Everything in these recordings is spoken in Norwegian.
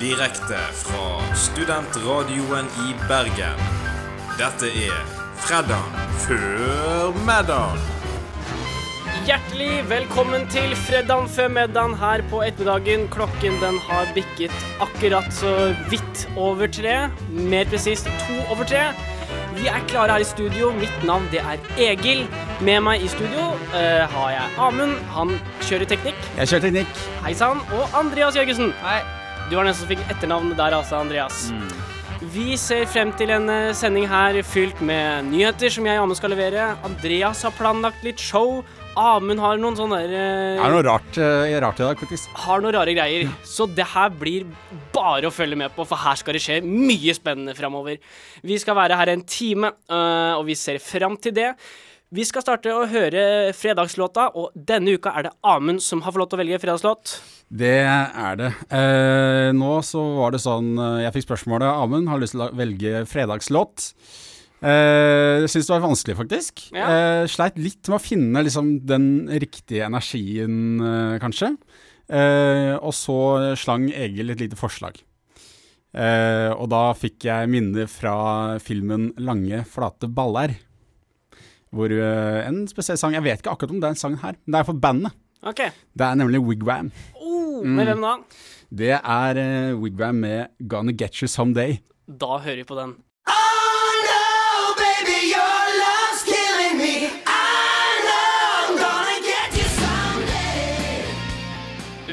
Direkte fra studentradioen i Bergen. Dette er Fredag før middag. Hjertelig velkommen til fredagen før middagen her på ettermiddagen. Klokken den har bikket akkurat så vidt over tre. Mer presist to over tre. Vi er klare her i studio. Mitt navn det er Egil. Med meg i studio eh, har jeg Amund. Han kjører teknikk. Jeg kjører teknikk. Hei sann. Og Andreas Jørgensen. Hei. Du var den som fikk etternavnet der, altså, Andreas. Mm. Vi ser frem til en eh, sending her fylt med nyheter som jeg og Amund skal levere. Andreas har planlagt litt show. Amund har noen sånne der, Det eh, er noe rart, eh, rart i dag, faktisk. har noen rare greier. Så det her blir bare å følge med på, for her skal det skje mye spennende framover. Vi skal være her en time, øh, og vi ser fram til det. Vi skal starte å høre fredagslåta, og denne uka er det Amund som har fått lov til å velge fredagslåt. Det er det. Eh, nå så var det sånn eh, Jeg fikk spørsmålet Amund har lyst til å velge fredagslåt. Eh, jeg syns det var vanskelig, faktisk. Ja. Eh, sleit litt med å finne liksom, den riktige energien, eh, kanskje. Eh, og så slang Egil et lite forslag. Eh, og da fikk jeg minner fra filmen 'Lange, flate baller'. Hvor eh, en spesiell sang Jeg vet ikke akkurat om det er en sang her, men det er for bandet. OK. Det er nemlig Wigwam. Oh, Mm. Med hvem da? Det er eh, Wigwam med 'Gonna Get You Someday'. Da hører vi på den.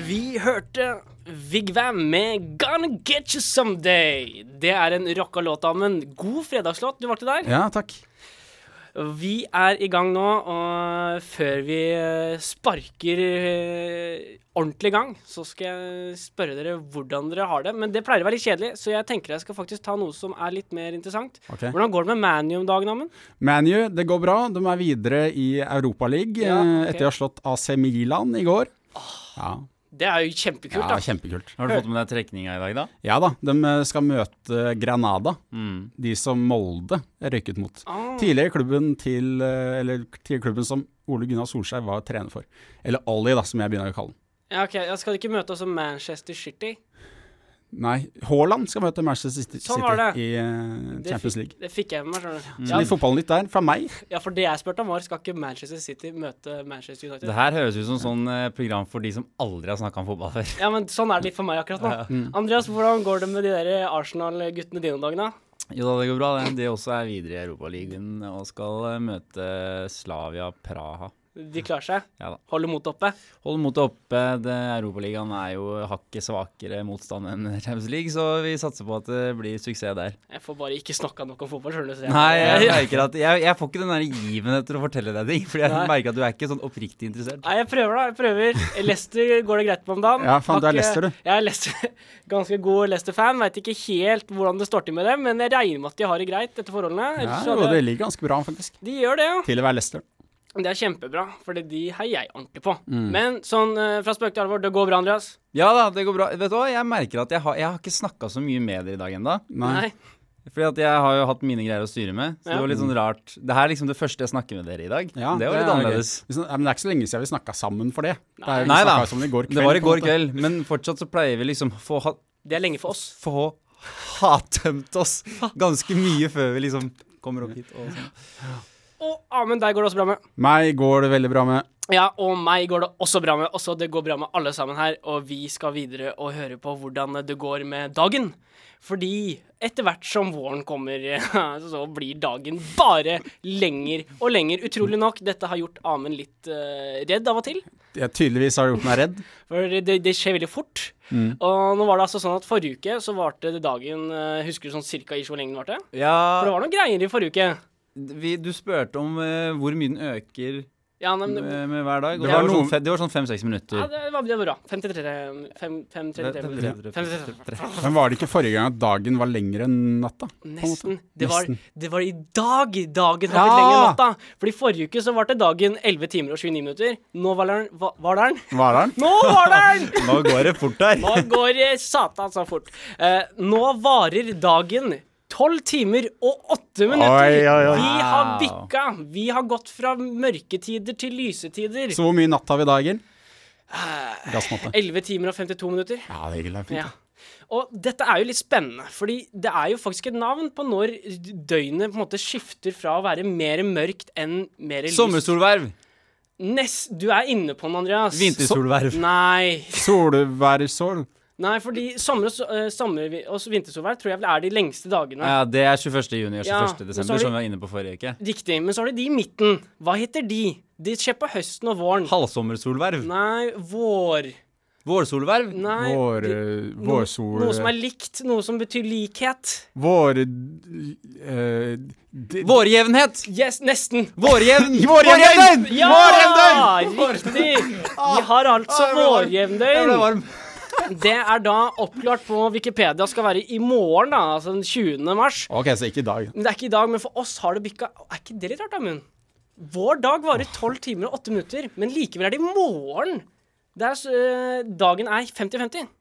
Vi hørte Vigvam med 'Gonna Get You Someday'. Det er en rocka låt, Amund. God fredagslåt du valgte der. Ja, takk. Vi er i gang nå, og før vi eh, sparker eh, ordentlig i gang, så skal jeg spørre dere hvordan dere har det. Men det pleier å være litt kjedelig, så jeg tenker jeg skal faktisk ta noe som er litt mer interessant. Ok. Hvordan går det med ManU om dagen, Amund? ManU, det går bra. De er videre i Europaligaen Ja, eh, ok. etter å ha slått AC Milan i går. Ja, Det er jo kjempekult, ja da. kjempekult. Har du fått med deg trekninga i dag, da? Ja da, de eh, skal møte Granada, Mm. de som Molde røyket mot. Ah. Tidligere klubben til eh, Eller til klubben som Ole Gunnar Solskjær var trener for. Eller Ollie, da, som jeg begynner å kalle den. Ja, ok, jeg Skal ikke møte oss som Manchester City? Nei, Haaland skal møte Manchester City, Sånn var det. i eh, Det Champions fikk- League. Det fikk jeg med meg. skjønner du. Så litt fotballnytt der fra meg. Ja, ja, for det jeg spurte om, var skal ikke Manchester City møte Manchester United? Det her høres ut som sånn eh, program for de som aldri har snakka om fotball før. Ja, men Sånn er det litt for meg akkurat nå. Mm. Andreas, hvordan går det med de der Arsenal-guttene dine om dagen? da? Jo da, det går bra. det. De også er videre i Europaligaen og skal eh, møte Slavia Praha. De klarer seg? Ja da. Holder motet oppe? Hold motet oppe. Det- Europaligaen er jo hakket svakere motstand enn Champions League, så vi satser på at det blir suksess der. Jeg får bare ikke snakka nok om fotball, skjønner du. så jeg- Nei, jeg merker at Jeg, jeg får ikke den der given etter å fortelle deg ting, for jeg Nei. merker at du er ikke sånn oppriktig interessert. Nei, jeg prøver, da. jeg prøver. Leicester går det greit med om dagen. Ja, faen, du Har er ikke- Leicester, du. Jeg er Leicester. ganske god Leicester-fan. Veit ikke helt hvordan det står til med dem, men jeg regner med at de har det greit etter forholdene. Ja, Ellers så jo, hadde- det ligger ganske bra, faktisk. De gjør det, ja. Til å være Leicester. Det er kjempebra, for de heier jeg ordentlig på. Men sånn eh, fra spøk til alvor, det går bra, Andreas? Ja da, det går bra. Vet du hva, jeg merker at jeg har, jeg har ikke snakka så mye med dere i dag ennå. Nei. Fordi at jeg har jo hatt mine greier å styre med, så Ja. det var litt sånn rart. Det her er liksom det første jeg snakker med dere i dag. Ja, det var litt er gøy. annerledes. Vi snak- ja, men det er ikke så lenge siden vi snakka sammen for det. det er, vi Nei da. snakket sammen i går kveld. det var i på en går måte. kveld, men fortsatt så pleier vi liksom få, ha, Det er lenge for oss. få hattømt oss ganske mye før vi liksom kommer opp hit og sånn. Og Amund, deg går det også bra med. Meg går det veldig bra med. Ja, og meg går det også bra med. Også det går bra med alle sammen her. Og vi skal videre og høre på hvordan det går med dagen. Fordi etter hvert som våren kommer, så blir dagen bare lenger og lenger. Utrolig nok, dette har gjort Amund litt eh, redd av og til. Jeg tydeligvis har gjort meg redd. For det, det skjer veldig fort. Og nå var det altså sånn at forrige uke så varte det dagen eh, Husker du sånn cirka ish hvor lenge den varte? For det Ja, var noen greier i forrige uke. vi, du spurte om eh, hvor mye den øker Ja, men, med, ja, med hver dag. Det Og det, var var noe- sånn, fe- det var sånn fem-seks minutter. det, var, det var bra. 533 533 minutter. 533. Men var det ikke forrige gang at dagen var lengre enn natta? Nesten. Det var, Nesten. det var i dag dagen har Ja! blitt lenger enn natta. Fordi forrige uke så var det dagen 11 timer og 29 minutter. Nå var den va- Var den? Var det den? Nå var den! Nå går det fort der. Nå går eh, satan så fort. Eh, nå varer dagen 12 timer og 8 minutter. Oi, oi, oi. Vi har Wow. bikka. Vi har gått fra mørketider til lysetider. Ah. Så hvor mye natt har vi i dag, Egil? Gassmatte. 11 timer og 52 minutter. Ja, det er fint. Ja. Og dette er jo litt spennende, fordi det er jo faktisk et navn på når døgnet på en måte skifter fra å være mer mørkt enn mer lyst. Sommersolverv. Nest, du er inne på den, Andreas. Vintersolverv. Nei. Solværsol. Nei, fordi sommer og, s- eh, sommer og s- vintersolvær tror jeg vel er de lengste dagene. Ja, det er 21. juni og 21. Ja, men så desember, har de- som vi var inne på forrige uke. Riktig. Men så har du de i midten. Hva heter de? De skjer på høsten og våren. Halvsommersolverv. Nei, vår Vårsolverv. Nei. Vår, eh, de- vårsol Noe som er likt. Noe som betyr likhet. Vår eh, d- Vårjevnhet. Yes, nesten. Vårjevn. Vårjevndøgn! Ja! Vårjevndøgn! Riktig! Ah, Vi har altså jeg ble varm. Jeg ble vårjevndøgn. varm. Det er da oppklart på Wikipedia skal være i morgen, da, altså den 20. mars. Ok, så ikke i dag. Men det er ikke i dag, men for oss har det bikka Er ikke det litt rart, Amund? Vår dag varer 12 timer og 8 minutter, men likevel er det i morgen. Det er, så- øh, dagen er 50-50.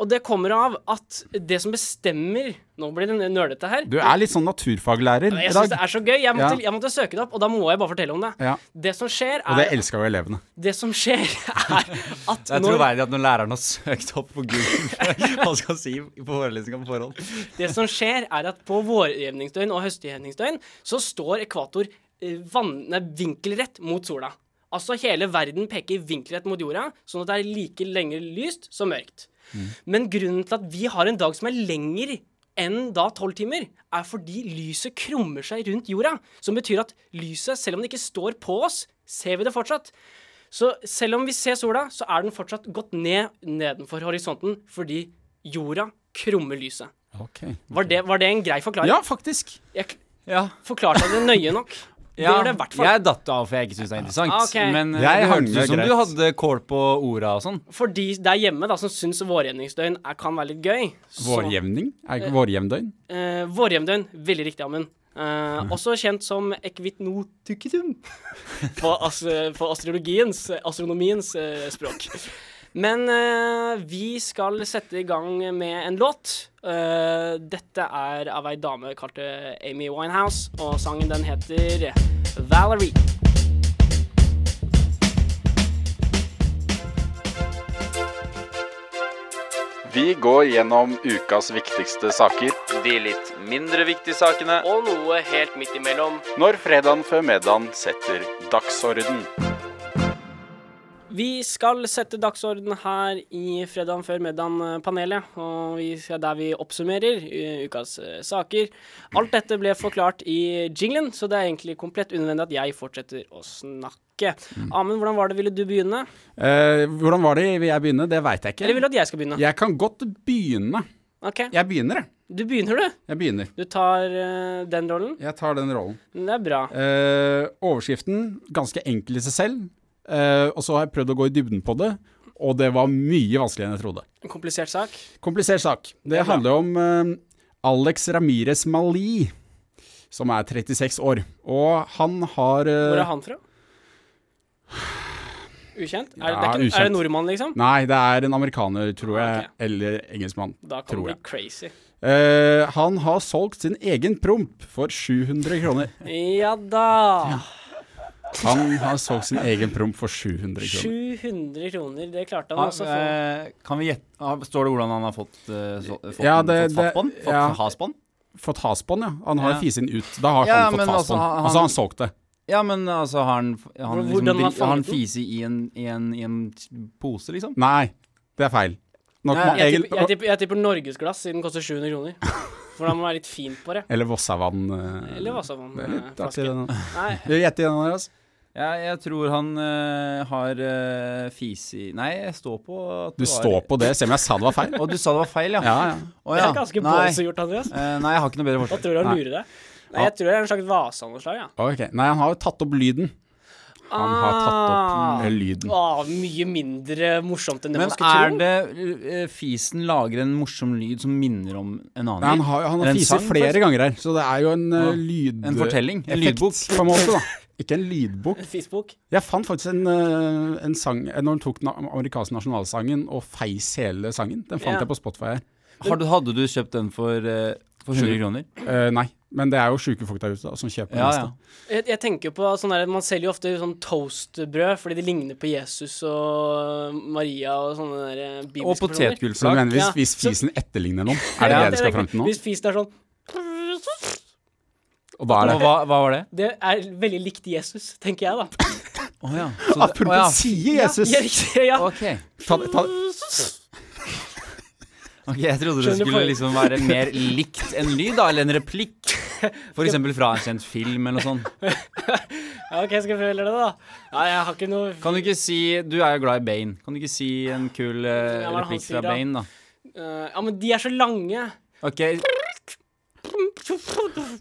Og det kommer av at det som bestemmer Nå blir det nølete her. Du er litt sånn naturfaglærer i jeg syns dag. det er så gøy. Jeg måtte, Ja. jeg måtte søke det opp, og da må jeg bare fortelle om det. Ja, Det som skjer, og det er, elska jo elevene. det som skjer er at Det er når troverdig at når læreren har søkt opp på Google hva han skal si på forelesninga på forhånd. Det som skjer, er at på vårjevningsdøgn og høstjevningsdøgn så står ekvator eh, vann, nei, vinkelrett mot sola. Altså hele verden peker vinkelrett mot jorda, sånn at det er like lenge lyst som mørkt. Men grunnen til at vi har en dag som er lenger enn da tolv timer, er fordi lyset krummer seg rundt jorda. Som betyr at lyset, selv om det ikke står på oss, ser vi det fortsatt. Så selv om vi ser sola, så er den fortsatt gått ned nedenfor horisonten fordi jorda krummer lyset. Var det, var det en grei forklaring? Ja, faktisk. Jeg Ja, forklarte det nøye nok. Det ja. gjorde det i hvert fall. Jeg datt av, for jeg ikke syntes det var interessant. Ah, ok. Men eh, Jeg det hang hørtes med ut som greit. du hadde kål på orda og sånn. For de der hjemme da, som syns vårjevningsdøgn er- kan være litt gøy så- Vårjevning? Er ikke vårjevndøgn? Eh, vårjevndøgn, veldig riktig, Amund. Eh, også kjent som ekvitnotukitum på, as på astrologiens, astronomiens eh, språk. Men eh, vi skal sette i gang med en låt. Eh, dette er av ei dame kalt eh, Amy Winehouse, og sangen den heter Valerie. Vi går gjennom ukas viktigste saker De litt mindre viktige sakene. Og noe helt midt imellom. når fredagen før middagen setter dagsorden. Vi skal sette dagsorden her i Fredagen før middagen-panelet, og vi skal der vi oppsummerer eh, ukas eh, saker. Alt dette ble forklart i jinglen, så det er egentlig komplett unødvendig at jeg fortsetter å snakke. Mm. Amund, hvordan var det? Ville du begynne? Eh, hvordan var det jeg begynner? Det veit jeg Eller ikke. vil du at jeg skal begynne? Jeg kan godt begynne. Ok, Jeg begynner, jeg. Du begynner, du. Jeg begynner. Du tar eh, den rollen. Jeg tar den rollen. Det er bra. Eh, overskriften, ganske enkel i seg selv. Eh, og så har jeg prøvd å gå i dybden på det, og det var mye vanskeligere enn jeg trodde. En komplisert sak. Komplisert sak. Det handler om eh, Alex Ramires Mali, som er 36 år. Og han har eh, Hvor er han fra? Ukjent? Er det, det er Ja, ikke, Er ukjent. det nordmann, liksom? Nei, det er en amerikaner, tror jeg. Ah, Ok. Eller engelskmann. Da kan Tror det jeg. bli crazy. Eh, han har solgt sin egen promp for 700 kroner. Ja da. Han har solgt sin egen promp for 700 kroner. 700 kroner, det klarte han altså også. Ja, For. eh, kan vi gjette ah, Står det hvordan han har fått, eh, så, fått, Ja, det- fått fatt på den? det- Fått ja. has på den? Fått hasbånd, ja. Han har Ja. fisen ut. Da har Ja, han men fått altså, hasbånd. han- Altså, han solgte det. Ja, men altså, har han, har han, Hvordan har han liksom, dri- har han fanget den? fise i en, i, en, i en pose, liksom? Nei, det er feil. Nå Nei, kan Jeg, Egil tipper, jeg, tipper, jeg tipper norgesglass, siden den koster 700 kroner. For da må man være litt fin på det. Eller Vossavann. eh, Eller hva sa Det er litt artig, flaske? den. Nei, Vil du gjette igjen, Andreas? Ja, jeg tror han eh, har uh, fise i Nei, jeg står på at Du det var- står på det, selv om jeg sa det var feil. Og du sa det var feil, ja? Ja, ja. Å, det ja. er ganske nei. båse gjort, Andreas. Eh, nei, jeg har ikke noe bedre Da forslag. tror jeg han Nei. lurer deg. Nei, jeg tror det er en slags vase av noe slag, ja. Ok, Nei, han har jo tatt opp lyden. Han har tatt Ah. opp eh, lyden. Ah, mye mindre morsomt enn det Men man skulle er tro. det eh, fisen lager en morsom lyd som minner om en annen Nei, han lyd? har, han har Er det en fiser sang, flere forresten? ganger her, så det er jo en uh, Ja. lyd... En fortelling? En effekt, lydbok? På en måte, da. Ikke en lydbok. Facebook. Jeg fant faktisk en, eh, en sang eh, Når han tok den amerikanske nasjonalsangen og feis hele sangen. Den fant Ja. jeg på Spotify her. Har du, hadde du kjøpt den for, eh, for 100 kroner? Eh, nei, Men det er jo sjuke folk der ute da, som kjøper Ja, det ja. meste. Jeg, jeg tenker jo på sånn der, Man selger jo ofte sånn toastbrød fordi de ligner på Jesus og Maria og sånne der eh, bibelske Og personer. Så du potetgullsak. mener hvis, Ja. hvis Så- fisen etterligner noen? Er det Ja, det du skal er fram til nå? Hvis fisen er sånn Og da er Og det hva, hva var det? Det er veldig likt Jesus, tenker jeg, da. Å ja. Så det- å ja. Apropos sier Jesus! Ja, riktig, ja. Ok. Ta, det- ta, det- Ok, Jeg trodde det Skjønner skulle for- liksom være mer likt en lyd, da, eller en replikk. For eksempel fra en kjent film eller noe sånt. ja OK, skal jeg følge det, da? Ja, jeg har ikke noe Kan du ikke si Du er jo glad i Bane. Kan du ikke si en kul eh, Ja, hva er det han replikk sier fra da? Bane, da? Eh, Ja, men de er så lange. Ok,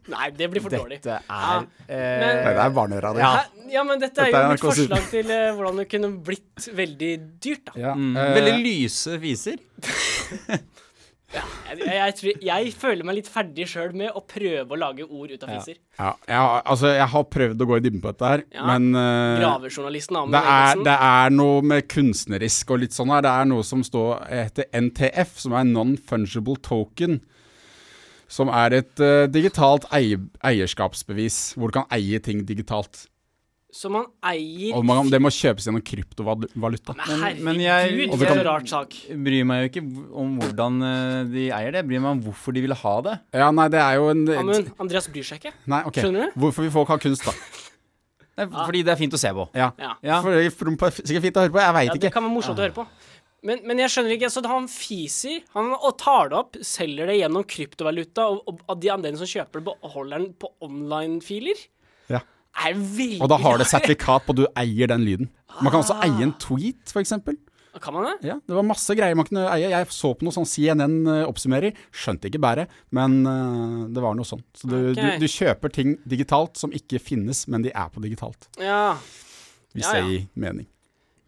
Nei, det blir for dårlig. dette Ja, er men- eh, Nei, det er barneradio. Ja. Hæ? ja, men dette er Dette jo er mitt NRK Super. forslag til eh, hvordan det kunne blitt veldig dyrt, da. Ja. mm, eh, Veldig lyse fiser. Jeg, jeg, jeg, tror, jeg føler meg litt ferdig sjøl med å prøve å lage ord ut av Ja. fiser. ja, jeg, har, altså, jeg har prøvd å gå i dybden på dette her, Ja. men eh, Gravejournalisten Amund det er, Engelsen. det er noe med kunstnerisk og litt sånn her. Det er noe som står heter NTF, som er Non-Fungible Token. Som er et eh, digitalt eie, eierskapsbevis, hvor du kan eie ting digitalt. Så man eier Og man, det må kjøpes gjennom kryptovaluta. Men Men- herregud, men jeg- for Og vi kan- en rart sak. Bryr meg jo ikke om hvordan eh, de eier det, bryr meg om hvorfor de ville ha det. Ja, nei, det er jo en Amund, Andreas bryr seg ikke. Nei, ok. Skjønner du? Hvorfor vi folk har kunst, da. Nei, Ah. fordi det er fint å se på. Ja. Ja. Ja. For det er sikkert fint å høre på, jeg Ja, veit det ikke. Ah. kan være morsomt å høre på. Men, men jeg skjønner ikke. Så han fiser, han og tar det opp, selger det gjennom kryptovaluta, og, og av de andre som kjøper det, beholder den på online-filer. Ja. Er veldig Og da har det sertifikat på at du eier den lyden. Man kan også eie en tweet, f.eks. Kan man det? Ja, det var masse greier man kunne eie. Jeg så på noe sånn CNN oppsummerer. Skjønte ikke bæret, men eh, det var noe sånn. Så du, Ok. du, du kjøper ting digitalt som ikke finnes, men de er på digitalt. Ja. Hvis Ja, ja. det gir mening.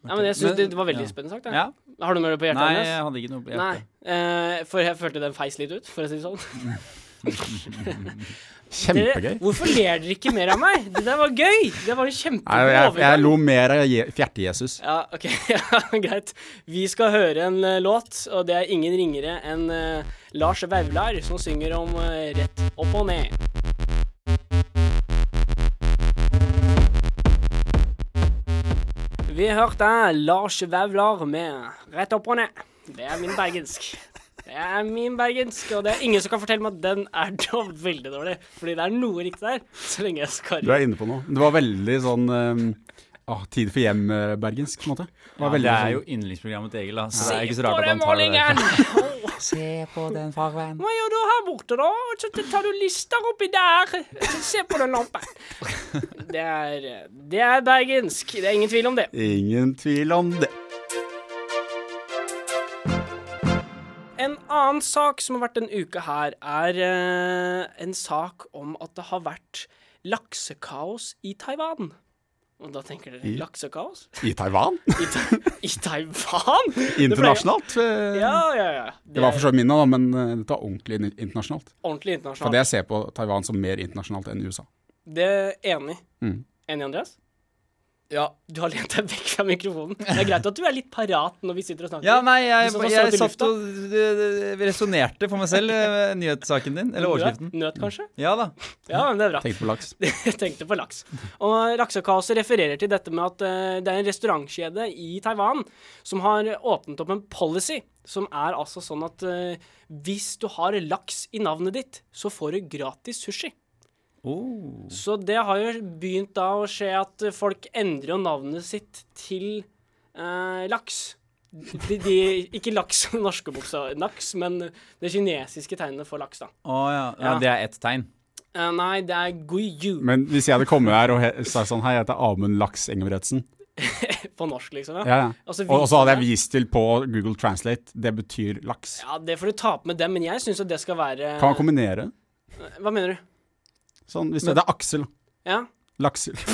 ja men jeg synes Men- det, det var veldig ja. spennende sagt. Ja. Har du noe mer på hjertet? Nei, Andreas? jeg hadde ikke noe på Nei, hjertet. eh, for jeg følte den feis litt ut, for å si det sånn. Dere, Kjempegøy. hvorfor ler dere ikke mer av meg? Det der var gøy! Det var en Nei, kjempegod jeg, jeg overgang. lo mer av Je- Fjerte-Jesus. Ja, ok, ja, greit. Vi skal høre en eh, låt, og det er ingen ringere enn eh, Lars Vaular som synger om eh, rett opp og ned. Vi hørte Lars Vaular med Rett opp og ned. Det er min bergensk. Det er min bergensk, og det er ingen som kan fortelle meg at den er da veldig dårlig. Fordi det er noe riktig der, så lenge jeg Du skarrer. er inne på noe. Det var veldig sånn eh, ah, Tid for hjem-bergensk, på en måte. Det var Ja, veldig det er jo sånn- yndlingsprogrammet til Egil, da. Så det Se er ikke så på rart den at han tar det derfra. målingen! Åh. Se på den farven. Hva gjør du her borte, da? Og så tar du lister oppi der. Se på den lampen. Det er, det er bergensk. Det er ingen tvil om det. Ingen tvil om det. En annen sak som har vært en uke her, er eh, en sak om at det har vært laksekaos i Taiwan. Og da tenker dere I- laksekaos? I Taiwan? I, ta i Taiwan? Internasjonalt? eh, Ja, ja, ja. Det var for så vidt minna, da, men eh, dette var ordentlig in- internasjonalt. ordentlig For det internasjonalt. jeg ser på Taiwan som mer internasjonalt enn USA. Det er enig. Mm. Enig, Andreas? Ja. Du har lent deg vekk fra mikrofonen. Det er greit at du er litt parat når vi sitter og snakker. Ja, nei, jeg, Du satt og jeg, så ut i satt lufta. og resonnerte for meg selv, eh, nyhetssaken din. Eller overskriften. Nøt, nøt kanskje? Ja da. Ja, men det er bra. Tenkte på laks. Jeg tenkte på laks. Og laksekaoset refererer til dette med at eh, det er en restaurantkjede i Taiwan som har åpnet opp en policy som er altså sånn at eh, hvis du har laks i navnet ditt, så får du gratis sushi. Oh. Så det har jo begynt da å skje at folk endrer jo navnet sitt til eh, laks. De, de, ikke laks, norske buksa, laks, men det kinesiske tegnet for laks, da. ja. ja. Ja. Det er ett tegn. Eh, nei, det er guiyu Men hvis jeg hadde kommet her og he- sagt sånn Hei, jeg heter Amund Laks Engebretsen. på norsk, liksom. Ja, ja. Og så Og og så hadde jeg viser vist til på Google Translate. Det betyr laks. Ja, det får du ta opp med dem, men jeg syns jo det skal være Kan man kombinere? Hva mener du? Sånn, hvis det, det er Aksel. Ja. Laksel.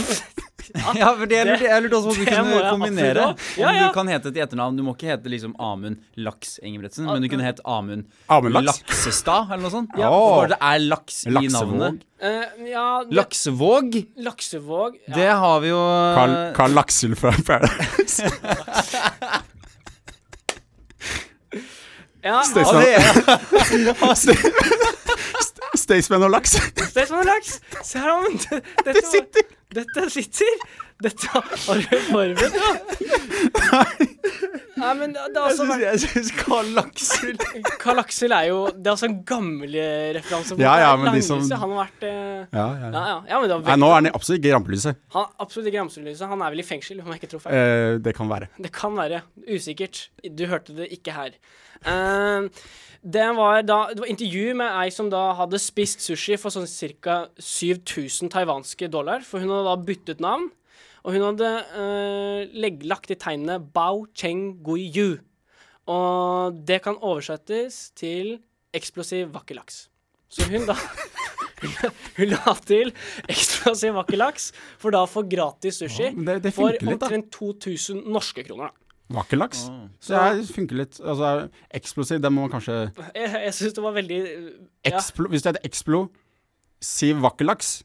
Ja, for det, jeg lurte- jeg lurte også på om du det må kunne jeg kombinere. absolutt ha. Ja, Om ja. du kan hete et etternavn. Du må ikke hete liksom Amund Laks Engebretsen, men du kunne hete Amund Amund Laks. Laksestad, eller noe sånt. Ja. Så bare det er laks i Laksevåg. navnet. Eh, ja det- Laksevåg, Laksevåg. Ja. det har vi jo Carl, Carl Laksel fra Paradise. ja, Stefan- ja, Ja, det er- Ste- Ste- Staysman og laks. Det er sånn laks! Se her, men det- dette, Det sitter. Dette sitter! Dette har du forberedt, da? Nei, men det er altså Jeg syns Karl Laksel Karl Aksel er jo Det er altså en gammel eh, referanse. Ja, ja, Bård men de som- Langelse, Han har vært eh, Ja, Ja, ja. ja men det var Nei, veldig, nå er han i- absolutt ikke i rampelyset. Han er absolutt ikke ramselyset. Han er vel i fengsel, om jeg ikke tror feil. Eh, det kan være. Det kan være. Usikkert. Du hørte det ikke her. Eh, det var da Det var intervju med ei som da hadde spist sushi for sånn ca. 7000 taiwanske dollar, for hun hadde da byttet navn. Og hun hadde eh, legg- lagt i tegnet Bao Cheng Gui Yu. Og det kan oversettes til eksplosiv vakker laks. Så hun da Hun la til eksplosiv vakker laks, for da å få gratis sushi Ja, men det- det for funker litt, da. omtrent 2000 norske kroner. da. Vakker laks. Mm. Så det er- funker litt. Altså, eksplosiv, det må man kanskje Jeg, jeg syns det var veldig ja. Explo, Hvis det heter Explo, si vakker laks.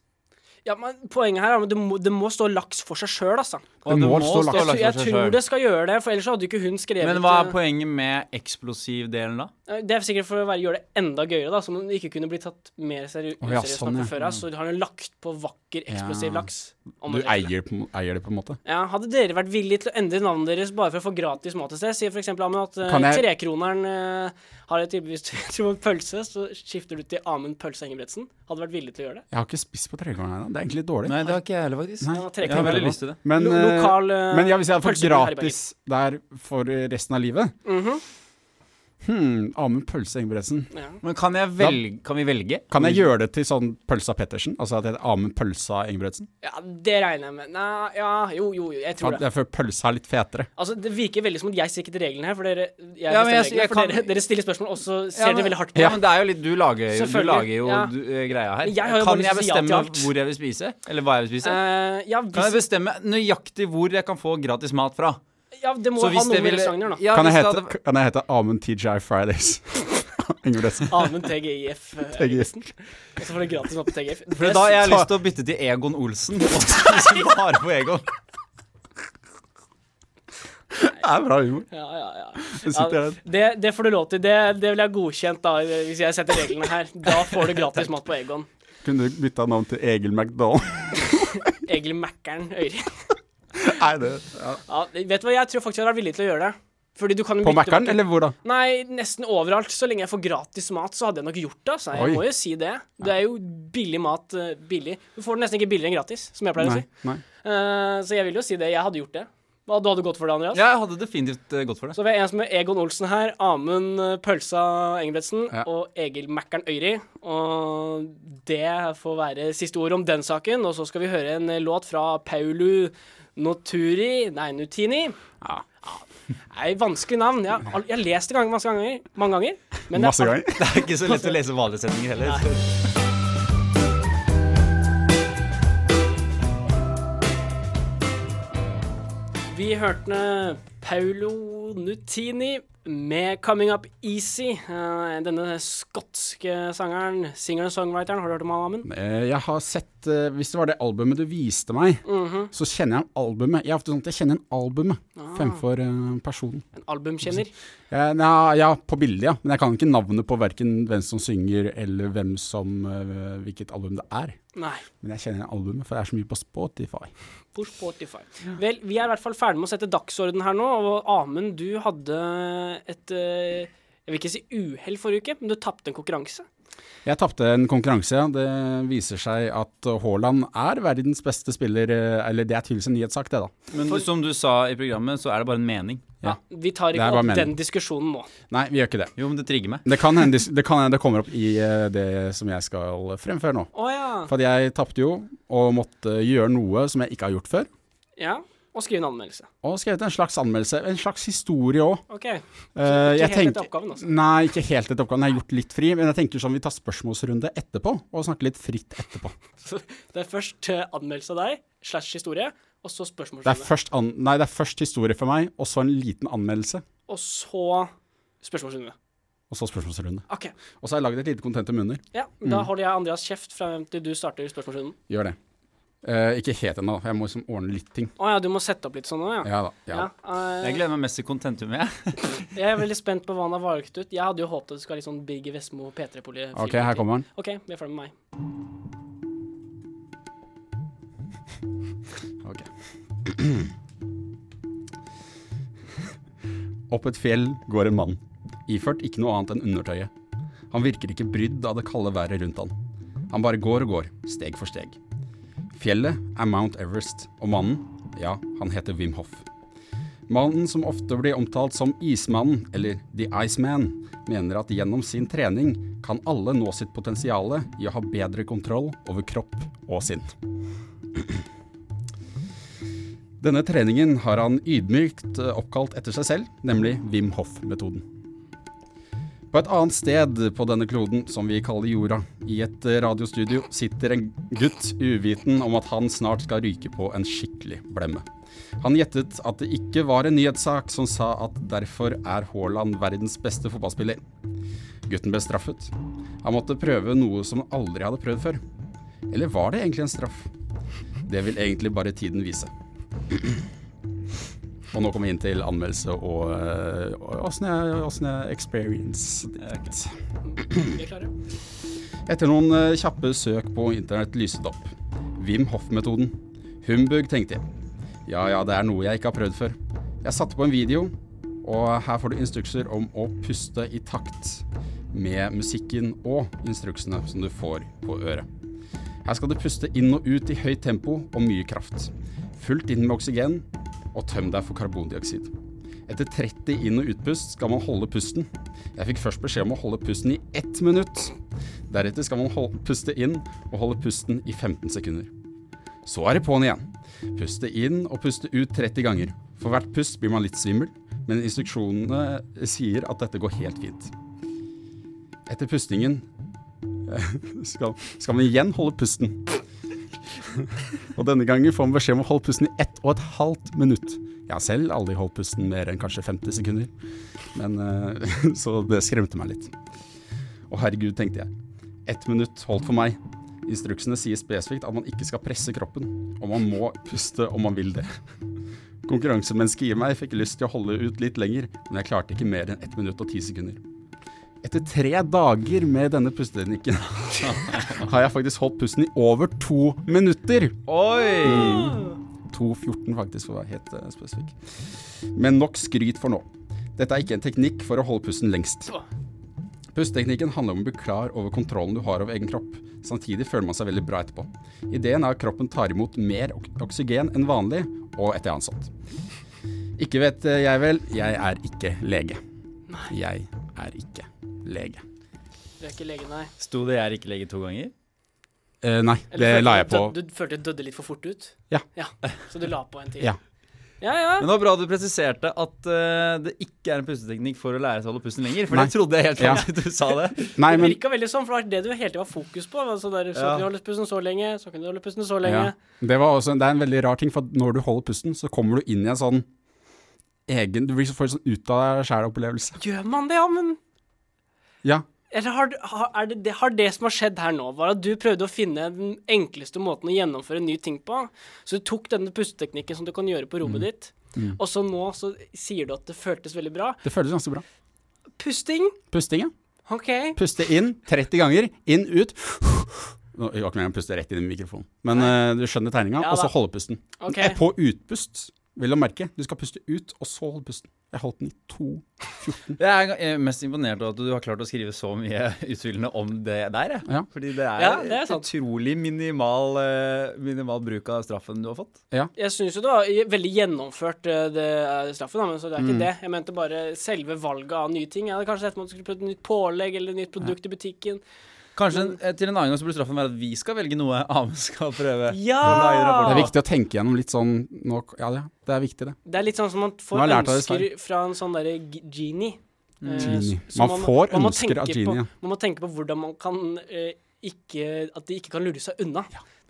ja, men Poenget her er at det må, det må stå laks for seg sjøl, altså. Det må stå laks. Så jeg tror det skal gjøre det, for ellers hadde jo ikke hun skrevet Men hva er eh, poenget med eksplosivdelen, da? Det er sikkert for å være, gjøre det enda gøyere, da, så man ikke kunne bli tatt mer seri Å ja, useriøst sånn, nok ja. fra før av. Så har hun lagt på vakker, eksplosiv Ja. laks. om Du man heter det. eier, på- eier det på en måte. Ja, hadde dere vært villige til å endre navnet deres bare for å få gratis mat et sted? Si for eksempel Amund, at Kan eh, jeg- trekroneren eh, har et tilbud til en pølse, så skifter du til Amund Pølse Engebretsen. Hadde du vært villig til å gjøre det? Jeg har ikke spist på trekroner ennå. Det er egentlig litt dårlig. Nei, det har ikke jeg heller, faktisk. Ja, Jeg har veldig lyst til det. Men, Lo- eh, lokal, eh, men ja, hvis jeg hadde fått pølse på gratis der for eh, resten av livet Mhm. hmm, Amund Pølse Engebretsen. Ja. Men kan, jeg velge, kan vi velge? Kan jeg gjøre det til sånn Pølsa Pettersen? Altså at det heter Amund Pølsa Engebretsen? ja, det regner jeg med. Nei, ja, jo, jo, jo, jeg For tror at det. jeg føler pølsa er litt fetere. Altså, Det virker veldig som at jeg sitter reglene her, for dere jeg Ja, men bestemmer jeg- reglene, jeg for kan- dere, dere stiller spørsmål, og så ser dere veldig hardt på. Ja, meg. men det er jo litt Du lager jo, du Selvfølgelig, lager jo ja. du, eh, greia her. Men jeg har jo bare kan lyst til å si jeg ja til bestemme alt. hvor jeg vil spise? Eller hva jeg vil spise? Eh, ja, hvis, kan jeg bestemme nøyaktig hvor jeg kan få gratis mat fra? ja, det må Så ha hvis noe det med ville- restauranter, da. Ja, Kan jeg hvis det hete, hadde- kan jeg hete Amund TGI Fridays Engebretsen? Amund TGIF. eh, TGI. Og så får du gratis mat på TGIF. For da har jeg lyst til å bytte til Egon Olsen. Og spise bare på Egon. Det er bra humor. Ja, ja, ja. Det sitter Ja, her. det, det får du lov til. Det, det vil jeg godkjent da, hvis jeg setter reglene her. Da får du gratis mat på Egon. Kunne du bytta navn til Egil McDonald? Egil Mækkern Øyre. Nei, det ja. Ja, vet du hva, jeg tror faktisk jeg hadde vært villig til å gjøre det. Fordi du kan jo På bytte Mækkern, bort- eller hvor da? Nei, nesten overalt. Så lenge jeg får gratis mat, så hadde jeg nok gjort det. Altså. Jeg Oi. må jo si det. Det er jo billig mat. eh, Billig. Du får det nesten ikke billigere enn gratis, som jeg pleier å Nei, si. nei. Eh, så jeg vil jo si det. Jeg hadde gjort det. Hva du hadde gått for det, Andreas? Ja, jeg hadde definitivt eh, gått for det. Så vi har en som er Egon Olsen her, Amund eh, Pølsa Engebretsen Ja. og Egil Mækkern Øyri. Og det får være siste ord om den saken. Og så skal vi høre en eh, låt fra Paulu Noturi Nei, Nutini. Ja. Nei, vanskelig navn. Jeg har, al- jeg har lest det gang, masse ganger, mange ganger. men det er Masse al- ganger. Det er ikke så lett å lese vanlige setninger heller. Vi hørte Paulo Nutini med 'Coming Up Easy'. Eh, Denne skotske sangeren, singeren-songwriteren, har du hørt om han, Amund? Eh, Jeg har sett eh, Hvis det var det albumet du viste meg, Mhm. så kjenner jeg albumet. Jeg er ofte sånn at jeg kjenner albumet Ah. fremfor eh, personen. En albumkjenner. Eh, nei, ja, på bildet, ja. Men jeg kan ikke navnet på verken hvem som synger, eller hvem som eh, hvilket album det er. Nei. Men jeg kjenner albumet, for det er så mye på Spotify. på Spotify. Vel, vi er i hvert fall ferdig med å sette dagsorden her nå, og Amund, du hadde et eh, Jeg vil ikke si uhell forrige uke, men du tapte en konkurranse. Jeg tapte en konkurranse. ja. Det viser seg at Haaland er verdens beste spiller, eh, eller det er tydeligvis en nyhetssak, det, da. Men som du sa i programmet, så er det bare en mening. Ja. Vi tar Det er ikke bare opp meningen. den diskusjonen nå. Nei, vi gjør ikke det. Jo, men det trigger meg. Det kan hende det, kan hende det kommer opp i eh, det som jeg skal fremføre nå. Å ja. For at jeg tapte jo, og måtte gjøre noe som jeg ikke har gjort før. ja. Og skrive en anmeldelse. Og skrevet en slags anmeldelse, en slags historie òg. OK. Eh, ikke jeg helt tenker- etter oppgaven, altså. Nei, ikke helt etter oppgaven. Jeg har gjort litt fri, men jeg tenker sånn vi tar spørsmålsrunde etterpå, og snakker litt fritt etterpå. Det er først eh, anmeldelse av deg slash historie, og så Det er spørsmålsrunde. først, an nei, det er først historie for meg, og så en liten anmeldelse, Og så spørsmålsrunde. og så spørsmålsrunde. OK. Og så har jeg laget et lite kontentum under. Ja, da holder jeg Andreas kjeft frem til du starter spørsmålsrunden. Gjør det. Eh, ikke helt ennå, for jeg må liksom ordne litt ting. Å ja, du må sette opp litt sånn nå, ja. Ja da. Ja. Ja, eh, Jeg gleder meg mest til kontentum, jeg. jeg er veldig spent på hva han har valgt ut. Jeg hadde jo håpet at det skulle være litt sånn Birger Vestmo P3-politi. Ok, her kommer den. OK, vi er ferdig med meg. Ok. Opp et fjell går en mann, iført ikke noe annet enn undertøyet. Han virker ikke brydd av det kalde været rundt han. Han bare går og går, steg for steg. Fjellet er Mount Everest, og mannen, ja, han heter Wim Hoff. Mannen som ofte blir omtalt som Ismannen, eller The Iceman, mener at gjennom sin trening kan alle nå sitt potensial i å ha bedre kontroll over kropp og sinn. Denne treningen har han ydmykt eh, oppkalt etter seg selv, nemlig Wim Hof-metoden. På et annet sted på denne kloden, som vi kaller jorda, i et eh, radiostudio, sitter en gutt uviten om at han snart skal ryke på en skikkelig blemme. Han gjettet at det ikke var en nyhetssak som sa at derfor er Haaland verdens beste fotballspiller. Gutten ble straffet. Han måtte prøve noe som han aldri hadde prøvd før. Eller var det egentlig en straff? Det vil egentlig bare tiden vise. Og nå kommer vi inn til anmeldelse og eh, og åssen jeg, åssen jeg experience det. Vi er klare. Etter noen eh, kjappe søk på internett lyset opp. Wim Hof-metoden. Humbug, tenkte jeg. Ja ja, det er noe jeg ikke har prøvd før. Jeg satte på en video, og her får du instrukser om å puste i takt med musikken og instruksene som du får på øret. Her skal du puste inn og ut i høyt tempo og mye kraft. Fullt inn med oksygen, og tøm deg for karbondioksid. Etter 30 inn- og utpust skal man holde pusten. Jeg fikk først beskjed om å holde pusten i ett minutt. Deretter skal man hol- puste inn og holde pusten i 15 sekunder. Så er det på'n igjen. Puste inn og puste ut 30 ganger. For hvert pust blir man litt svimmel, men instruksjonene sier at dette går helt fint. Etter pustingen skal, skal man igjen holde pusten. Og denne gangen får man beskjed om å holde pusten i ett og et halvt minutt. Jeg har selv aldri holdt pusten mer enn kanskje 50 sekunder, men, eh, så det skremte meg litt. Å herregud, tenkte jeg. Ett minutt holdt for meg. Instruksene sier spesifikt at man ikke skal presse kroppen, og man må puste om man vil det. Konkurransemennesket i meg fikk lyst til å holde ut litt lenger, men jeg klarte ikke mer enn ett minutt og ti sekunder. Etter tre dager med denne pusteteknikken har jeg faktisk holdt pusten i over to minutter. Oi! 2.14 faktisk, for å være helt eh, spesifikk. Men nok skryt for nå. Dette er ikke en teknikk for å holde pusten lengst. Pusteteknikken handler om å bli klar over kontrollen du har over egen kropp. Samtidig føler man seg veldig bra etterpå. Ideen er at kroppen tar imot mer ok- oksygen enn vanlig, og etter ansatt. Ikke vet eh, jeg vel, jeg er ikke lege. Jeg er ikke lege. Du er ikke lege, nei. Sto det 'jeg er ikke lege' to ganger? Eh, nei, det Eller følte la du jeg på. død- Du følte du døde litt for fort ut? Ja. Så du la på en til? Ja. Ja, ja. Men det var bra du presiserte at eh, det ikke er en pusteteknikk for å lære seg å holde pusten lenger. For Nei. det trodde jeg helt Ja. fram til du sa det. Nei, Det men virka veldig sånn, for det var det du hele tiden var fokus på. Altså der, så Ja. kunne du holde pusten så lenge, så kunne du holde pusten så lenge. Ja. Det, var også, det er en veldig rar ting, for at når du holder pusten, så kommer du inn i en sånn egen Du blir så- får en sånn ut av deg sjæl-opplevelse. Gjør man det, ja, men Ja. Eller har, du- har, er det, det, har det som har skjedd her nå, var at du prøvde å finne den enkleste måten å gjennomføre nye ting på? Så du tok denne pusteteknikken som du kan gjøre på rommet ditt, og så nå så sier du at det føltes veldig bra. Det føles ganske bra. Pusting, Pusting, ja. OK? Puste inn 30 ganger. Inn, ut. Nå jeg var ikke meningen å puste rett inn i mikrofonen, men eh, du skjønner tegninga. Ja og da. så holde pusten. Ok. Eh, På utpust, vil du merke. Du skal puste ut, og så holde pusten. Jeg holdt den i to Jeg er ga- eh, mest imponert over at du har klart å skrive så mye utfyllende om det der. Jeg. Ja. Fordi det er, Ja, det er sant. utrolig minimal, eh, minimal bruk av straffen du har fått. Jeg syns jo det var veldig gjennomført, eh, det eh, straffen, da, men så det er ikke det. Jeg mente bare selve valget av nye ting. Jeg hadde kanskje sett om du skulle prøvd et nytt pålegg eller et nytt produkt i butikken. Kanskje en, eh, til en annen gang så burde straffen være at vi skal velge noe Amund skal prøve. Ja! Det Ah. er viktig å tenke gjennom litt sånn nå, Ja, ja, det er viktig, det. Det er litt sånn som man Nå får har jeg lært av det Mm. ønsker fra en sånn derre g- genie. Eh, Genie. s- som Man får må ønsker tenke av genie, ja. På, man må tenke på hvordan man kan eh, ikke At de ikke kan lure seg unna.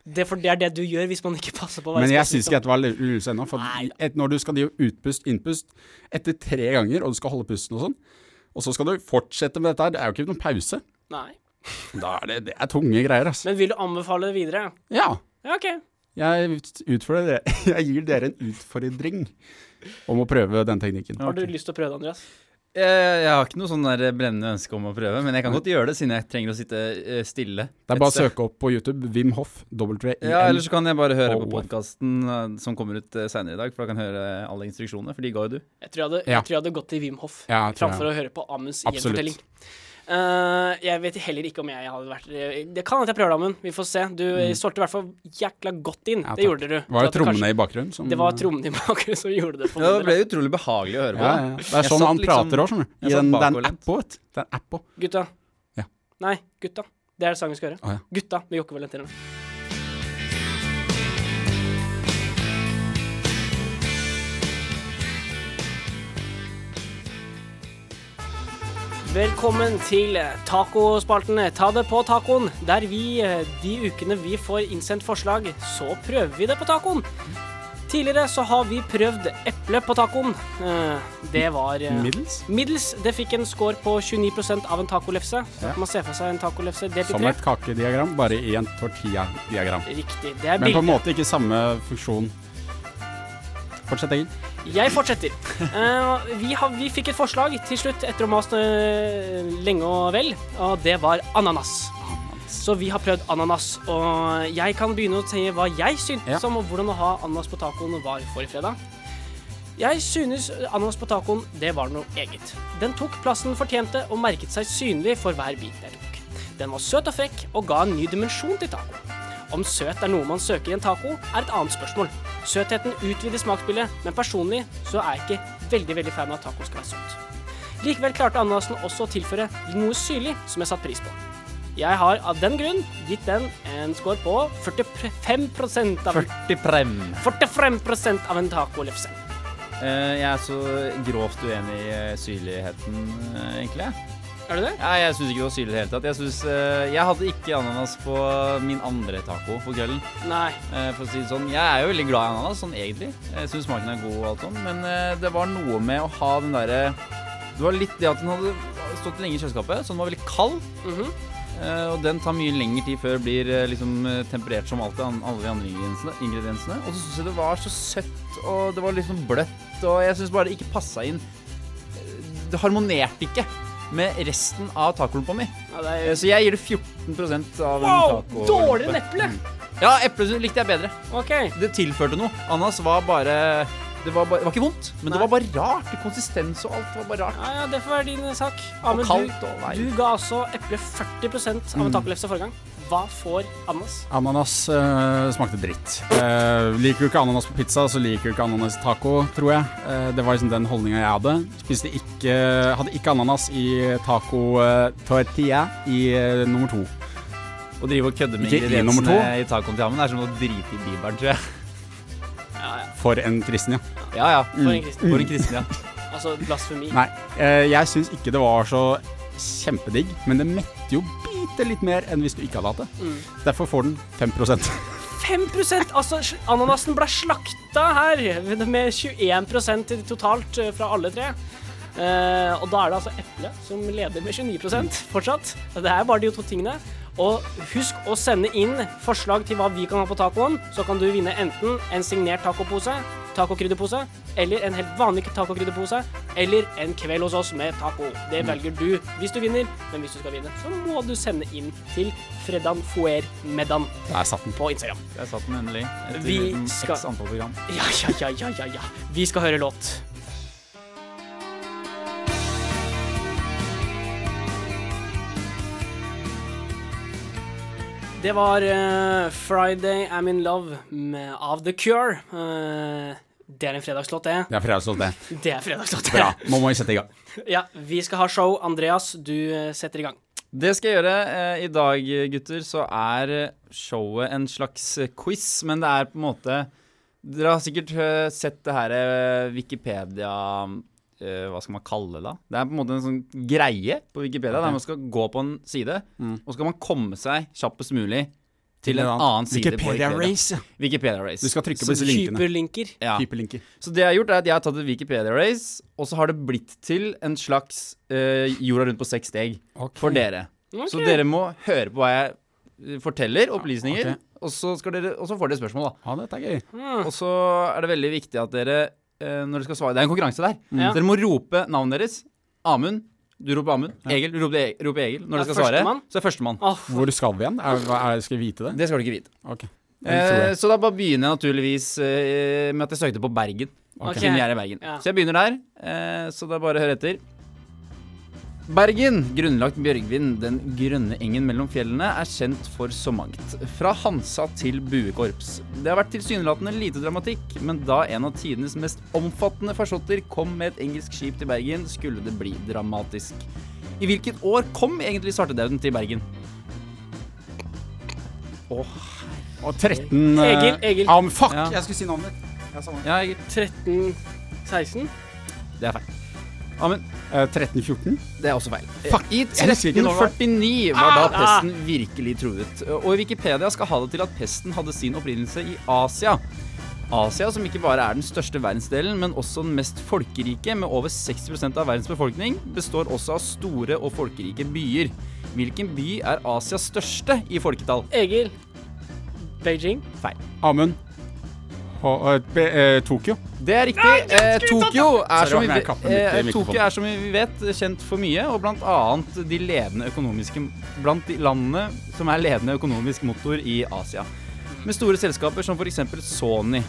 Det, er for det er det du gjør hvis man ikke passer på. å være Men jeg syns spesifikk. ikke dette var lu- lurelse ennå. For et, når du skal drive utpust, innpust etter tre ganger, og du skal holde pusten og sånn, og så skal du fortsette med dette her, det er jo ikke noen pause. Nei. Da er det, det er tunge greier, altså. Men vil du anbefale det videre? Ja. Ja, OK. Jeg, utfordrer dere. jeg gir dere en utfordring om å prøve den teknikken. Har du lyst til å prøve det, Andreas? Jeg, jeg har ikke noe sånn der brennende ønske om å prøve, men jeg kan godt gjøre det siden jeg trenger å sitte eh, stille. Det er bare å et sted. søke opp på YouTube. Wim Hof. W-I-M. Ja, eller så kan jeg bare høre på Oh. podkasten som kommer ut eh, senere i dag, for da kan jeg høre alle instruksjonene, for de ga jo du. Jeg tror jeg hadde, Ja. jeg tror jeg hadde gått til Wim Hof Ja, jeg tror framfor å høre på Amunds Absolutt. gjenfortelling. Eh, jeg vet heller ikke om jeg hadde vært eh, Det kan hende jeg prøver det, Amund. Vi får se. Du eh, solgte i hvert fall jækla godt inn. Mm. Ja, det takk. gjorde du. Var Så det at trommene kanskje- i bakgrunnen? Som, Det var trommene i bakgrunnen som gjorde det. for Ja, min del, det ble utrolig behagelig å høre på. Ja, da. ja. Det er Jeg sånn satt han liksom- prater òg, skjønner du. I jeg satt den, den bakoverlent. appen. vet du. Det er en app også. altså. Gutta. Ja. Nei, gutta. Det er sangen vi skal høre. Å, ja. Gutta med Jokke Valentinerne. Velkommen til tacospalten Ta det på tacoen, der vi eh, de ukene vi får innsendt forslag, så prøver vi det på tacoen. Mm. Tidligere så har vi prøvd eple på tacoen. Eh, Det var eh, Middels. Middels det fikk en score på 29 av en tacolefse. Så Man ser for seg en tacolefse delt i Som tre. et kakediagram, bare i en tortilla-diagram. Riktig. Det er Men på en bildet. måte ikke samme funksjon. Fortsett, Egil. Jeg fortsetter. Eh, vi, har, vi fikk et forslag til slutt etter å mase eh, lenge og vel, og det var ananas. Så vi har prøvd ananas, og jeg kan begynne å si hva jeg syntes Ja. om hvordan å ha ananas på tacoen var forrige fredag. Jeg synes ananas på tacoen, det var noe eget. Den tok plassen den fortjente og merket seg synlig for hver bit jeg tok. Den var søt og frekk og ga en ny dimensjon til tacoen. Om søt er noe man søker i en taco, er et annet spørsmål. Søtheten utvider smaksbildet, men personlig så er jeg ikke veldig, veldig fan av at taco skal være søt. Likevel klarte ananasen også å tilføre noe syrlig som jeg satte pris på. Jeg har av den grunn gitt den en score på 45 av 40 prem. 45 av en tacolefse. Eh, jeg er så grovt uenig i eh, syrligheten, eh, egentlig. jeg. Er det det? Nei, jeg syns ikke det var syrlig i det hele tatt. Jeg, synes, eh, jeg hadde ikke ananas på min andre taco for kvelden. Nei. Eh, for å si det sånn. Jeg er jo veldig glad i ananas, sånn egentlig. Jeg syns smaken er god og alt sånn, men eh, det var noe med å ha den derre Det var litt det at den hadde stått lenge i kjøleskapet, så den var veldig kald. Mhm. Eh, og den tar mye lengre tid før blir eh, liksom eh, temperert som alt det an- alle de andre ingrediensene. ingrediensene. Og så syns jeg det var så søtt, og det var litt sånn bløtt, og jeg syns bare det ikke passa inn. Eh, Det harmonerte ikke med resten av tacoen på meg. Ja, det Eh, er Så jeg gir det 14 av en Wow! taco. Dårligere enn eple! Ja, eplet likte jeg bedre. OK. Det tilførte noe. Ananas var bare Det var, bare, det var ikke vondt, men det Nei. var bare rart. Konsistens og alt var bare rart. Ja, ja, det får være din eh, sak. Amund, kaldt og Mm. du, vei. du ga altså eple 40 av en tacolefse forrige gang. Hva får ananas? Ananas eh, smakte dritt. Eh, liker du ikke ananas på pizza, så liker du ikke ananas i taco, tror jeg. Eh, det var liksom den holdninga jeg hadde. Spiste ikke Hadde ikke ananas i taco eh, tortilla i eh, nummer to. Å drive og kødde med Ikke i nummer to. ingrediensene i tacoen til Amund er som å drite i bibelen, tror jeg. Ja, ja. For en kristen, ja. Ja, ja. For en kristen. Mm. For en kristen, ja. Altså blasfemi. Nei, eh, jeg syns ikke det var så kjempedigg, men det mette jo bitte litt mer enn hvis du ikke hadde hatt det. Derfor får den 5 5 Altså, sl- ananasen ble slakta her med 21 i- totalt eh, fra alle tre. Eh, og da er det altså eple som leder med 29 fortsatt. Det er bare de to tingene. Og husk å sende inn forslag til hva vi kan ha på tacoen. Så kan du vinne enten en signert tacopose, tacokrydderpose, eller en helt vanlig tacokrydderpose, eller en kveld hos oss med taco. Det velger du hvis du vinner, men hvis du skal vinne, så må du sende inn til Fredan Foer Medan Der satt den. på Instagram. Jeg satt den endelig. Etter Vi en skal- X antall program. Ja, ja, ja, ja, ja, ja. Vi skal høre låt. Det var eh, 'Friday I'm In Love' med, av The Cure. Eh, det er en fredagslåt, det. Det er fredagslåt, det. Det er fredagslåt. Bra. Nå må vi sette i gang. ja, vi skal ha show. Andreas, du eh, setter i gang. Det skal jeg gjøre. Eh, I dag, gutter, så er eh, showet en slags eh, quiz, men det er på en måte Dere har sikkert eh, sett det her eh, Wikipedia eh, Hva skal man kalle det, da? Det er på en måte en sånn greie på Wikipedia der man skal gå på en side, og så skal man komme seg kjappest mulig til en annen side Wikipedia på Wikipedia. Race. ja. Wikipedia Race. Du skal trykke på Så disse linkene. Hyperlinker. ja. Hyperlinker. Så det jeg har gjort er at jeg har tatt et Wikipedia Race, og så har det blitt til en slags eh, jorda rundt på seks steg for dere. Så Ok. dere må høre på hva jeg eh, forteller, opplysninger, Ok. Og så, skal dere, og så får dere spørsmål, da. Ja, dette er gøy. Mm. Og så er det veldig viktig at dere, eh, når dere skal svare Det er en konkurranse der. Mm. Ja. Dere må rope navnet deres. Amund. Du roper Amund. Egil. Du roper, E- roper Egil. Når Ja, dere skal svare, førstemann. Ah. så er førstemann. Åh, Hvor skal vi igjen? Er, hva er, skal vi vite det? Det skal du ikke vite. Ok. Jeg tror Eh, det. så da bare begynner jeg naturligvis eh, med at jeg søkte på Bergen. Ok. Siden vi er i Bergen. Ja. Så jeg begynner der. Eh, så da bare hør etter. Bergen, grunnlagt Bjørgvin, den grønne engen mellom fjellene, er kjent for så mangt. Fra Hansa til buekorps. Det har vært tilsynelatende lite dramatikk, men da en av tidenes mest omfattende farsotter kom med et engelsk skip til Bergen, skulle det bli dramatisk. I hvilket år kom egentlig svartedauden til Bergen? Å, Og 13 eh, Egil, Egil. Ja, men fuck! Ja. Jeg skulle si navnet ditt. Jeg sa navnet. ja, Egil. 13 16? Det er feil. Amund. Eh, 13-14? Det er også feil. Fuck, I jeg husker ikke når det var. 1349 var da pesten virkelig truet. Og i Wikipedia skal ha det til at pesten hadde sin opprinnelse i Asia. Asia, som ikke bare er den største verdensdelen, men også den mest folkerike, med over 60 av verdens befolkning, består også av store og folkerike byer. Hvilken by er Asias største i folketall? Egil. Beijing. Feil. Amund. Ho- eh, Be- eh, Tokyo. Det er riktig. Eh, Tokyo, er Sorry, som vi, det var med kappen ve- midt i eh, mikrofonen. Tokyo er som vi vet kjent for mye, og blant annet de ledende økonomiske Blant de landene som er ledende økonomisk motor i Asia. Med store selskaper som f.eks. Sony.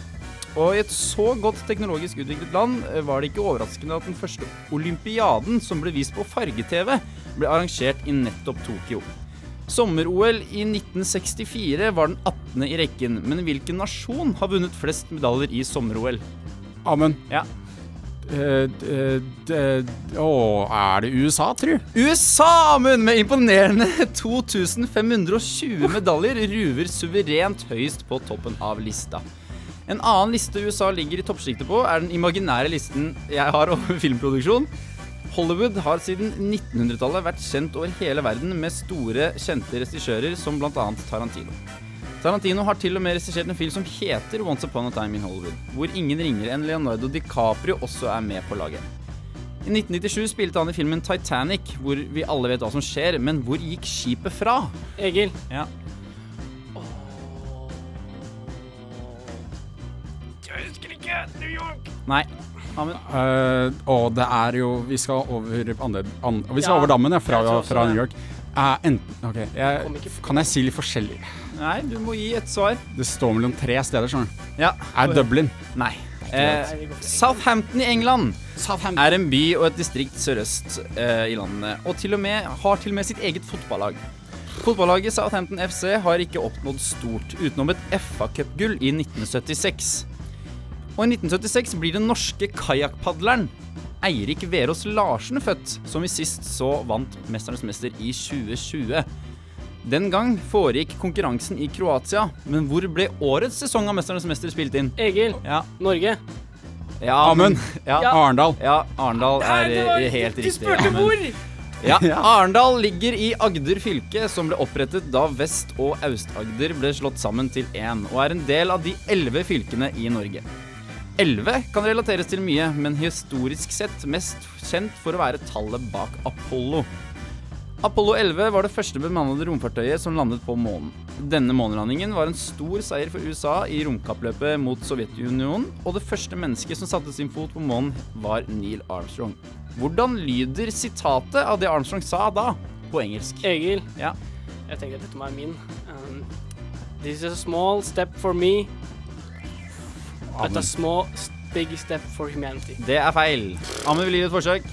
Og i et så godt teknologisk utviklet land eh, var det ikke overraskende at den første olympiaden som ble vist på farge-TV, ble arrangert i nettopp Tokyo. Sommer-OL i 1964 var den 18. i rekken, men hvilken nasjon har vunnet flest medaljer i sommer-OL? Amund. Ja. Eh, d- eh, d- d- Å, er det USA, tru? USA, Amund, med imponerende 2520 medaljer ruver suverent høyst på toppen av lista. En annen liste USA ligger i toppsjiktet på, er den imaginære listen jeg har over filmproduksjon. Hollywood har siden 1900-tallet vært kjent over hele verden med store, kjente regissører som bl.a. Tarantino. Tarantino har til og med regissert en film som heter Once Upon a Time in Hollywood, hvor ingen ringere enn Leonardo DiCaprio også er med på laget. I 1997 spilte han i filmen Titanic, hvor vi alle vet hva som skjer, men hvor gikk skipet fra? Egil. Ja. Jeg husker ikke. New York. Nei. Amund. Eh, og det er jo Vi skal over andre, an, og Vi skal Ja, over dammen, ja, jeg tror fra, også fra det. New York. Eh, enten OK, Kom jeg, ikke på- kan jeg si litt forskjellig? Nei, du må gi et svar. Det står mellom tre steder, skjønner du. Ja. Er Dublin. Nei. Eh, Southampton i England er en by og et distrikt sørøst eh, i landet, og til og med, har til og med sitt eget fotballag. Fotballaget Southampton FC har ikke oppnådd stort, utenom et FA-cupgull i 1976. Og i 1976 blir den norske kajakkpadleren Eirik Verås Larsen født, som vi sist så vant Mesternes mester i 2020. Den gang foregikk konkurransen i Kroatia, men hvor ble årets sesong av Mesternes mester spilt inn? Egil. Ja, Norge. ja Amund. Ja, Ja. Arendal. ja, Arendal er det var- eh, helt du riktig. spurte Amund. hvor! Ja, Ja. Arendal ligger i Agder fylke, som ble opprettet da Vest- og Aust-Agder ble slått sammen til én, og er en del av de elleve fylkene i Norge. Elleve kan relateres til mye, men historisk sett mest kjent for å være tallet bak Apollo. Apollo 11 var det første bemannede romfartøyet som landet på månen. Denne månelandingen var en stor seier for USA i romkappløpet mot Sovjetunionen, og det første mennesket som satte sin fot på månen, var Neil Armstrong. Hvordan lyder sitatet av det Armstrong sa da, på engelsk? Egil. Ja. Jeg tenker at dette må være min. Um, this is a small step for me, but a Amund. small s- big step for humanity. Det er feil. Amund vil gi det et forsøk.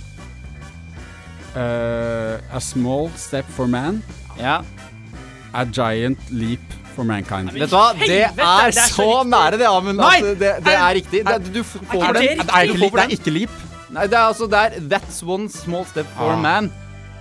Eh, a small step for man. Ja. A giant leap for mankind. Vet du hva, det Helvete, er det er så så riktig. nære det, Amund. at Nei! Det, det er riktig. Det, du f- Er får det den. riktig? er ikke Du får leap, det den. er ikke leap. Nei, det er altså der That's one small step for Ah. man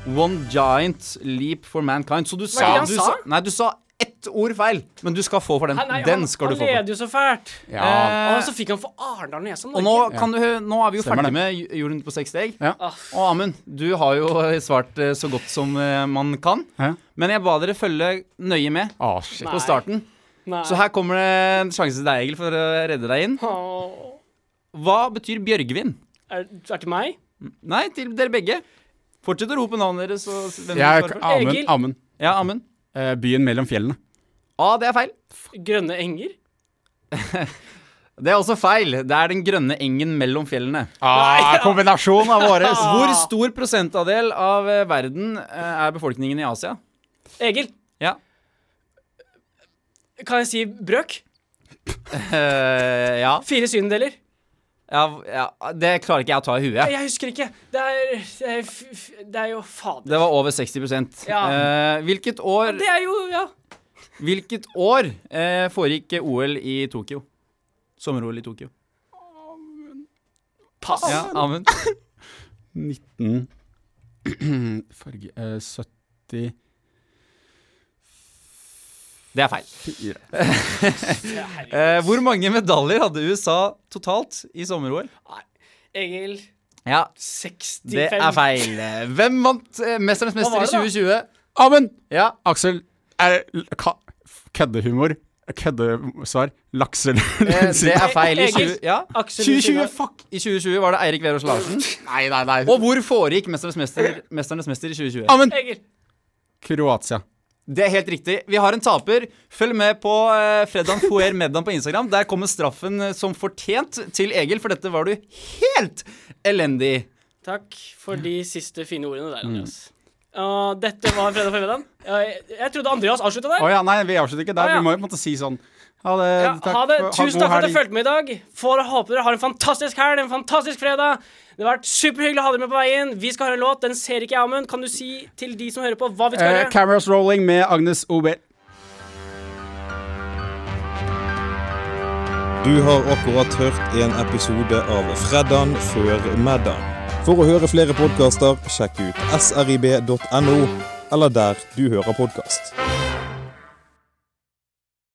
One giant leap for mankind Så du sa, det han du sa? Ah, sa Nei, du sa ett ord feil Men du skal få for den Nei, nei, Den han- skal du få Han for Ah. leder jo så fælt. Ja. Og så fikk han for Arendal når jeg sa Og Norge. nå, kan du, nå er vi jo Eh, Stemmer ferdig det. med ju- Jorden på seks steg Ja. Ah. Og Amund, du har jo svart eh, så godt som eh, man kan Hæ? Men jeg ba dere følge nøye med Ah, shit. Nei. På starten Nei. Så her kommer det en sjanse til deg, Egil For å redde deg inn Åh. Hva betyr Bjørgvin? Er er det til meg? Nei, til dere begge Fortsett å rope navnet deres og hvem dere Jeg, svarer først. Amund. Egil. Amund. Ja, Amund Eh, byen mellom fjellene. A, det er feil. Grønne enger? Det er også feil. Det er den grønne engen mellom fjellene. Ah, kombinasjon av våre. Hvor stor prosentandel av eh, verden eh, er befolkningen i Asia? Egil, Ja. kan jeg si brøk? Eh, ja. Fire syvendeler? ja. Ja, det klarer ikke jeg å ta i huet. Jeg husker ikke. Det er, det er, f- f- det er jo fader. Det var over 60 Ja. Eh, hvilket år, Det er jo Ja. hvilket år eh, foregikk OL i Tokyo? Sommer-OL i Tokyo. Pass. Ja, Amund. 19 Farge eh, 74 Det er feil. Eh, hvor mange medaljer hadde USA totalt i sommer-OL? Egil Ja, 65. det er feil. Hvem vant eh, Mesternes var mester i det da? 2020? Amund! Ja, Aksel, er, ka, køddehumor, køddesvar, lakselund eh, det er feil. I, Egil. 20, ja. Aksel 2020, Lundin- fuck! I 2020 var det Eirik Verås Larsen. Nei, nei, nei. Og hvor foregikk Mesternes mester, Mesternes mester i 2020? Amund! Egil. Kroatia. Det er helt riktig. Vi har en taper. Følg med på eh, Fredan Foer Meddan på Instagram. Der kommer straffen eh, som fortjent til Egil, for dette var du helt elendig. Takk for de siste fine ordene der, Andreas. Og dette var Fredag formiddag. Jeg, jeg trodde Andreas avslutta der. Å ja, nei, vi avslutter ikke Å der. ja. Vi må jo på en måte si sånn Ha det. Ja, takk ha det. for- Tusen takk for god at dere helg. fulgte med i dag. Får håpe dere har en fantastisk helg, en fantastisk fredag. Det har vært superhyggelig å ha dere med på veien. Vi skal høre en låt. Den ser ikke jeg, Amund. Kan du si til de som hører på, hva vi skal Eh, gjøre? Cameras Rolling med Agnes Obel. Du har akkurat hørt en episode av Freddan før middag. For å høre flere podkaster, sjekk ut srib.no, eller der du hører podkast.